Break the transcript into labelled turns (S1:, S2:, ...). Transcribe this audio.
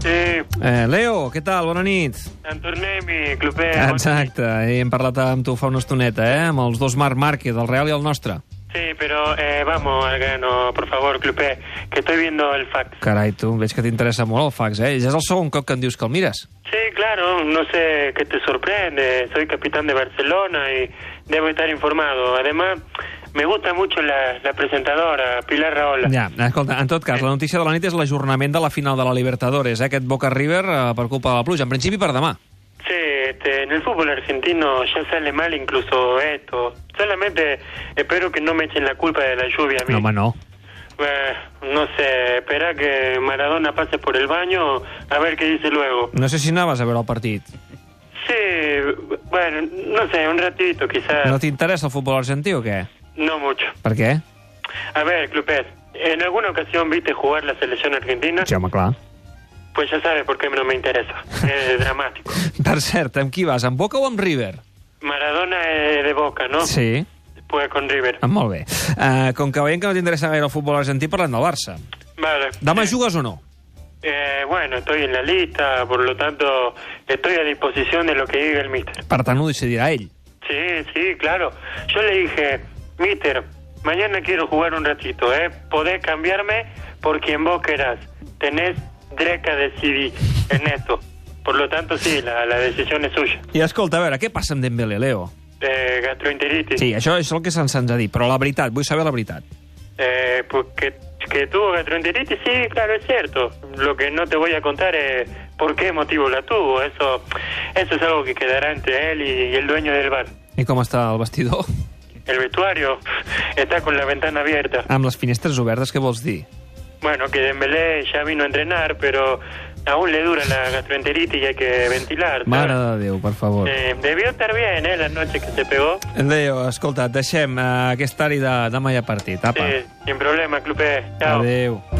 S1: Sí,
S2: Eh, Leo, què tal? Bona nit.
S1: en tornem-hi, clubers.
S2: Ah, Exacte, ahir hem parlat amb tu fa una estoneta, eh? Amb els dos Marc Márquez, el Real i el nostre.
S1: Sí, pero eh, vamos al grano, por favor, clubers, que estoy viendo el fax.
S2: Carai, tu, veig que t'interessa molt el fax, eh? Ja és el segon cop que em dius que el mires.
S1: Sí, claro, no sé qué te sorprende. Soy capitán de Barcelona y debo estar informado. Además, me gusta mucho la, la presentadora, Pilar Raola.
S2: Ja, escolta, en tot cas, la notícia de la nit és l'ajornament de la final de la Libertadores, eh? Aquest Boca-River eh, per culpa de la pluja, en principi per demà.
S1: Sí, este, en el fútbol argentino ya sale mal incluso esto. Solamente espero que no me echen la culpa de la lluvia a mí.
S2: No, home, no.
S1: Eh, no sé, espera que Maradona pase por el baño a ver qué dice luego.
S2: No sé si anaves a veure el partit.
S1: Sí, bueno, no sé, un ratito quizás.
S2: No
S1: No,
S2: t'interessa el futbol argentí o què?
S1: mucho.
S2: Per què?
S1: A ver, Clupés, ¿en alguna ocasión viste jugar la selección argentina?
S2: Sí, home, clar.
S1: Pues ya sabes por qué no me interesa. Es dramático.
S2: Per cert, amb qui vas? Amb Boca o amb River?
S1: Maradona eh, de Boca, ¿no?
S2: Sí.
S1: Pues con River.
S2: Ah, molt bé. Uh, com que veiem que no t'interessa gaire el futbol argentí, parlem del Barça.
S1: Vale.
S2: Demà jugues o no?
S1: Eh, bueno, estoy en la lista, por lo tanto estoy a disposición de lo que diga el mister.
S2: Per tant, ho decidirà ell.
S1: Sí, sí, claro. Yo le dije, mister, mañana quiero jugar un ratito, ¿eh? Podés cambiarme por quien vos querás. Tenés dreca de CD en esto. Por lo tanto, sí, la, la decisión es suya.
S2: I escolta, a veure, què passa amb Dembélé, Leo?
S1: Eh, gastroenteritis.
S2: Sí, això és el que se'ns se'ns ha dit, però la veritat, vull saber la veritat.
S1: Eh, pues que, que tuvo gastroenteritis, sí, claro, es cierto. Lo que no te voy a contar es por qué motivo la tuvo. Eso, eso es algo que quedará entre él y- y el dueño del bar.
S2: I com està el vestidor?
S1: El vestuario está con la ventana abierta.
S2: Amb les finestres obertes, què vols dir?
S1: Bueno, que Dembélé ya vino a entrenar, pero aún le dura la gastroenteritis y hay que ventilar. ¿sabes?
S2: Mare de Déu, per favor.
S1: Eh, debió estar bien, ¿eh? La noche que se pegó.
S2: Leo, eh, escolta, et deixem uh, aquesta àrea de demà hi ha partit. Apa,
S1: Sí, sin problema, Clupe. Chao.
S2: adeu.